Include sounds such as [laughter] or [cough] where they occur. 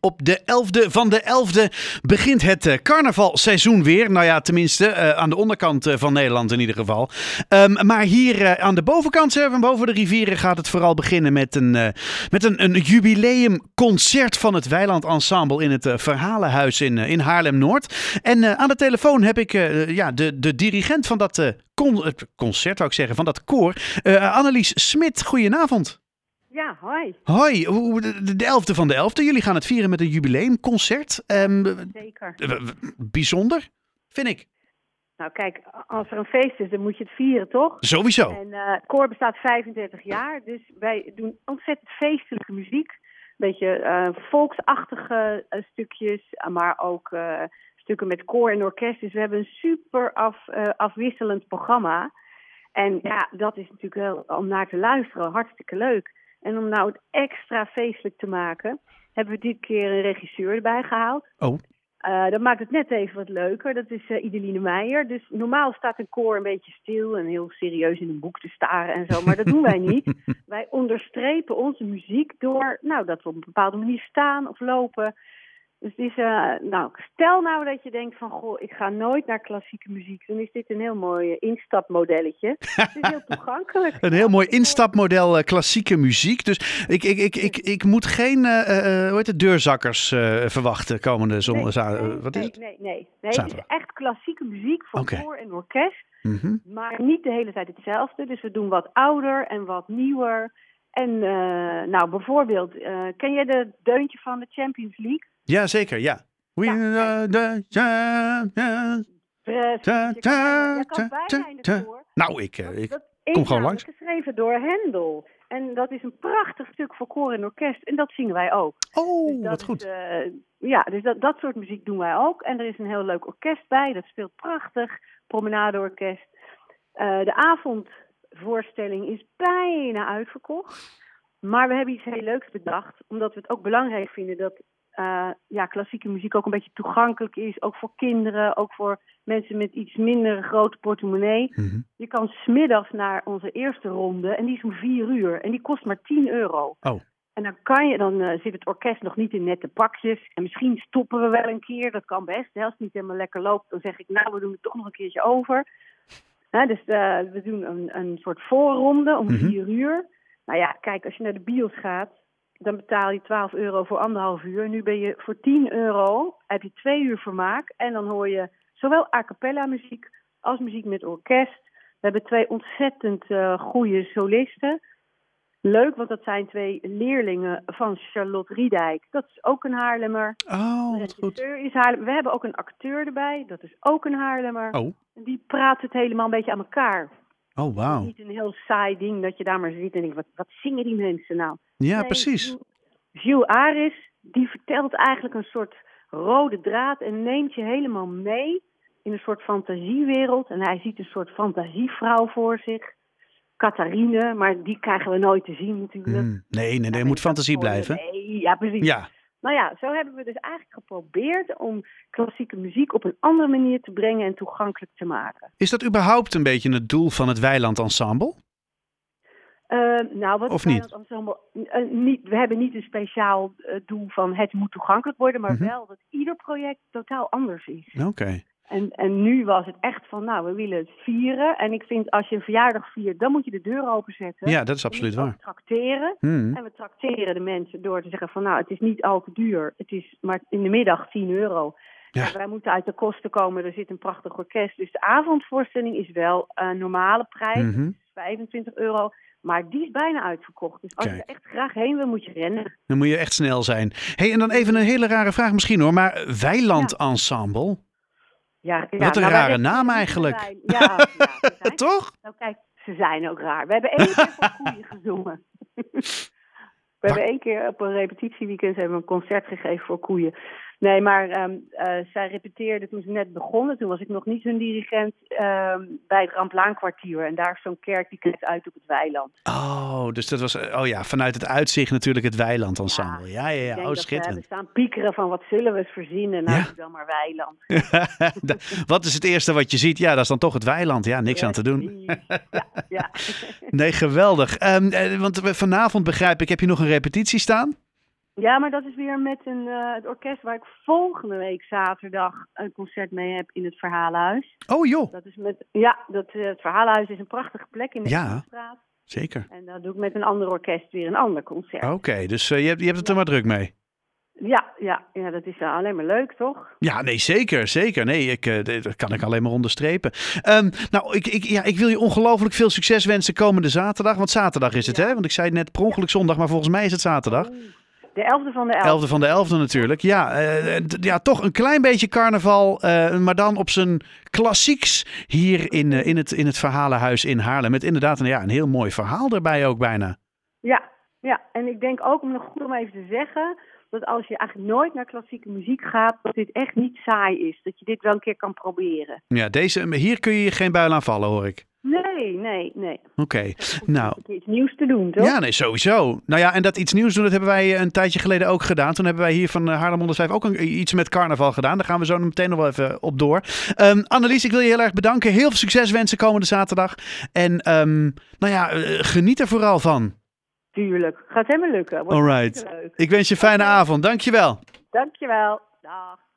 Op de 11e van de 11e begint het eh, carnavalseizoen weer. Nou ja, tenminste eh, aan de onderkant eh, van Nederland in ieder geval. Ehm, maar hier eh, aan de bovenkant, hè, van boven de rivieren, gaat het vooral beginnen met een, eh, met een, een jubileumconcert van het Weiland Ensemble in het eh, Verhalenhuis in, eh, in Haarlem-Noord. En eh, aan de telefoon heb ik eh, ja, de, de dirigent van dat eh, con- eh, concert, wou ik zeggen, van dat koor, eh, Annelies Smit. Goedenavond. Ja, hoi. Hoi, hoe- hoe- de, de 11e van de 11e. Jullie gaan het vieren met een jubileumconcert. Ehm, eh, Zeker. eh, bijzonder, vind ik. Nou kijk, als er een feest is, dan moet je het vieren, toch? Sowieso. En eh koor bestaat 35 jaar, dus wij doen ontzettend feestelijke muziek. Een beetje eh, volksachtige eh, stukjes, eh, maar ook eh, stukken met koor en orkest. Dus we hebben een super af, eh, afwisselend programma. En ja, dat is natuurlijk wel om naar te luisteren hartstikke leuk. En om nou het extra feestelijk te maken, hebben we dit keer een regisseur erbij gehaald. Oh. Eh, dat maakt het net even wat leuker. Dat is eh Ideline Meijer. Dus normaal staat een koor een beetje stil en heel serieus in een boek te staren en zo. Maar dat doen wij [laughs] niet. Wij onderstrepen onze muziek door nou, dat we op een bepaalde manier staan of lopen. Dus het is, eh, nou, stel nou dat je denkt van, goh, ik ga nooit naar klassieke muziek. Dan is dit een heel mooi eh, instapmodelletje. het is [laughs] heel toegankelijk. Een heel mooi instapmodel eh, klassieke muziek. Dus ik, ik, ik, ik, ik moet geen eh, eh, hoe heet het, deurzakkers eh, verwachten komende zondag. za- eh, wat is nee, het? Nee, nee, nee. Het is Zaterdag. echt klassieke muziek voor Oké. koor en orkest. Mhm. Maar niet de hele tijd hetzelfde. Dus we doen wat ouder en wat nieuwer. En eh, nou, bijvoorbeeld, eh, ken jij de deuntje van de Champions League? Ja, zeker, ja. We Ja, are the champions. Precies. Ta, Je Eh, kan- ta, je kan ta, bijna ta, in ta. de koor. Nou, ik, eh, ik, Dat is gewoon namelijk langs. geschreven door Hendel. En dat is een prachtig stuk voor koor en orkest. En dat zingen wij ook. Dus oh, dat wat is, goed. eh, ja, dus dat, dat soort muziek doen wij ook. En er is een heel leuk orkest bij, dat speelt prachtig. Promenadeorkest. Eh, de avondvoorstelling is bijna uitverkocht. Maar we hebben iets heel leuks bedacht, omdat we het ook belangrijk vinden dat eh, ja, klassieke muziek ook een beetje toegankelijk is. Ook voor kinderen, ook voor mensen met iets minder grote portemonnee. Mhm. Je kan smiddags naar onze eerste ronde en die is om vier uur. En die kost maar 10 euro. Oh. En dan, kan je, dan eh, zit het orkest nog niet in nette pakjes. En misschien stoppen we wel een keer, dat kan best. Hè. Als het niet helemaal lekker loopt, dan zeg ik, nou, we doen het toch nog een keertje over. Hè, dus eh, we doen een, een soort voorronde om Mhm. vier uur. Nou ja, kijk, als je naar de bios gaat, dan betaal je 12 euro voor anderhalf uur. Nu ben je voor 10 euro, heb je twee uur vermaak. En dan hoor je zowel a cappella muziek als muziek met orkest. We hebben twee ontzettend eh goede solisten. Leuk, want dat zijn twee leerlingen van Charlotte Riedijk. Dat is ook een Haarlemmer. Oh, De wat goed. regisseur is Haarlemmer. We hebben ook een acteur erbij. Dat is ook een Haarlemmer. Oh, Die praat het helemaal een beetje aan elkaar. oh wauw. Niet een heel saai ding dat je daar maar zit en denkt, wat, wat zingen die mensen nou? Ja, Nee, precies. Gilles- Gilles Aris, die vertelt eigenlijk een soort rode draad en neemt je helemaal mee in een soort fantasiewereld. En hij ziet een soort fantasievrouw voor zich. Catharine, maar die krijgen we nooit te zien natuurlijk. Mhm. Nee, nee, nee, Ja, moet fantasie dat is gewoon- blijven. Nee, ja, precies. Ja, Nou ja, zo hebben we dus eigenlijk geprobeerd om klassieke muziek op een andere manier te brengen en toegankelijk te maken. is dat überhaupt een beetje het doel van het Weiland Ensemble? Eh, nou, wat Of wij niet? dat ensemble- eh, niet? We hebben niet een speciaal eh, doel van het moet toegankelijk worden, maar Mhm. wel dat ieder project totaal anders is. Oké. En, en nu was het echt van, nou, we willen het vieren. En ik vind als je een verjaardag viert, dan moet je de deur openzetten. Ja, dat is absoluut waar. Tracteren. Mhm. En we tracteren de mensen door te zeggen van, nou, het is niet al te duur. Het is maar in de middag 10 euro. Ja. En wij moeten uit de kosten komen. Er zit een prachtig orkest. Dus de avondvoorstelling is wel een normale prijs. Mhm. 25 euro. Maar die is bijna uitverkocht. Dus als je Kijk. er echt graag heen wil, moet je rennen. Dan moet je echt snel zijn. hey, en dan even een hele rare vraag misschien hoor, maar Weiland Ensemble? Ja, ja, Wat een nou, wij rare weten naam niet eigenlijk. te zijn. Ja, ja, we zijn- Toch? [laughs] nou kijk, ze zijn ook raar. We hebben één keer voor koeien gezongen. [laughs] We hebben één keer op een repetitieweekend hebben we een concert gegeven voor koeien. Nee, maar ehm, eh, zij repeteerde toen ze net begonnen. Toen was ik nog niet hun dirigent ehm, bij het Ramplaankwartier. En daar is zo'n kerk die kijkt uit op het weiland. Oh, dus dat was, oh ja, vanuit het uitzicht natuurlijk het Weiland Ensemble. Ja, ja, Ik ja, oh denk dat ze hebben schitterend. staan piekeren van wat zullen we eens verzinnen? Nou, Ja. doe dan maar weiland. [laughs] Da- wat is het eerste wat je ziet? Ja, dat is dan toch het Weiland. Ja, niks aan te doen. Precies. Ja, ja. Nee, geweldig. Ehm, eh, want we- vanavond begrijp ik, heb je nog een repetitie staan? Ja, maar dat is weer met een, eh, het orkest waar ik volgende week zaterdag een concert mee heb in het Verhalenhuis. Oh joh, Dat is met, ja, dat, eh, het Verhalenhuis is een prachtige plek in de Ja. Eemstraat. zeker. En daar doe ik met een ander orkest weer een ander concert. Oké, dus eh, je, hebt, je hebt het er maar druk mee. Ja, ja, ja, dat is eh, alleen maar leuk, toch? Ja, nee, zeker, zeker. Nee, ik, eh, dit- dat kan ik alleen maar onderstrepen. Ehm, nou, ik, ik, ja, ik wil je ongelooflijk veel succes wensen komende zaterdag. Want zaterdag is het, hè? Want ik zei het net per ongeluk zondag, maar volgens mij is het zaterdag. De 11e van de 11e. 11e van de 11e natuurlijk. Ja, eh, d- ja, toch een klein beetje carnaval, eh, maar dan op zijn klassieks hier in, eh, in, het, in het Verhalenhuis in Haarlem. Met inderdaad een, ja, een heel mooi verhaal erbij ook bijna. Ja, ja, en ik denk ook om nog goed om even te zeggen dat als je eigenlijk nooit naar klassieke muziek gaat, dat dit echt niet saai is. Dat je dit wel een keer kan proberen. Ja, deze, hier kun je je geen buil aan vallen, hoor ik. Nee, nee, nee. Oké, nou... dus Een keer iets nieuws te doen, toch? Ja, nee, sowieso. Nou ja, en dat iets nieuws doen, dat hebben wij eh, een tijdje geleden ook gedaan. Toen hebben wij hier van eh, Haarlem 105 ook een, iets met carnaval gedaan. Daar gaan we zo meteen nog wel even op door. Ehm, Annelies, ik wil je heel erg bedanken. Heel veel succes wensen komende zaterdag. En ehm, nou ja, eh, geniet er vooral van. Tuurlijk. Gaat helemaal lukken. Wordt All right. hartstikke leuk. Ik wens je een fijne avond. Dankjewel. Dankjewel. Dag.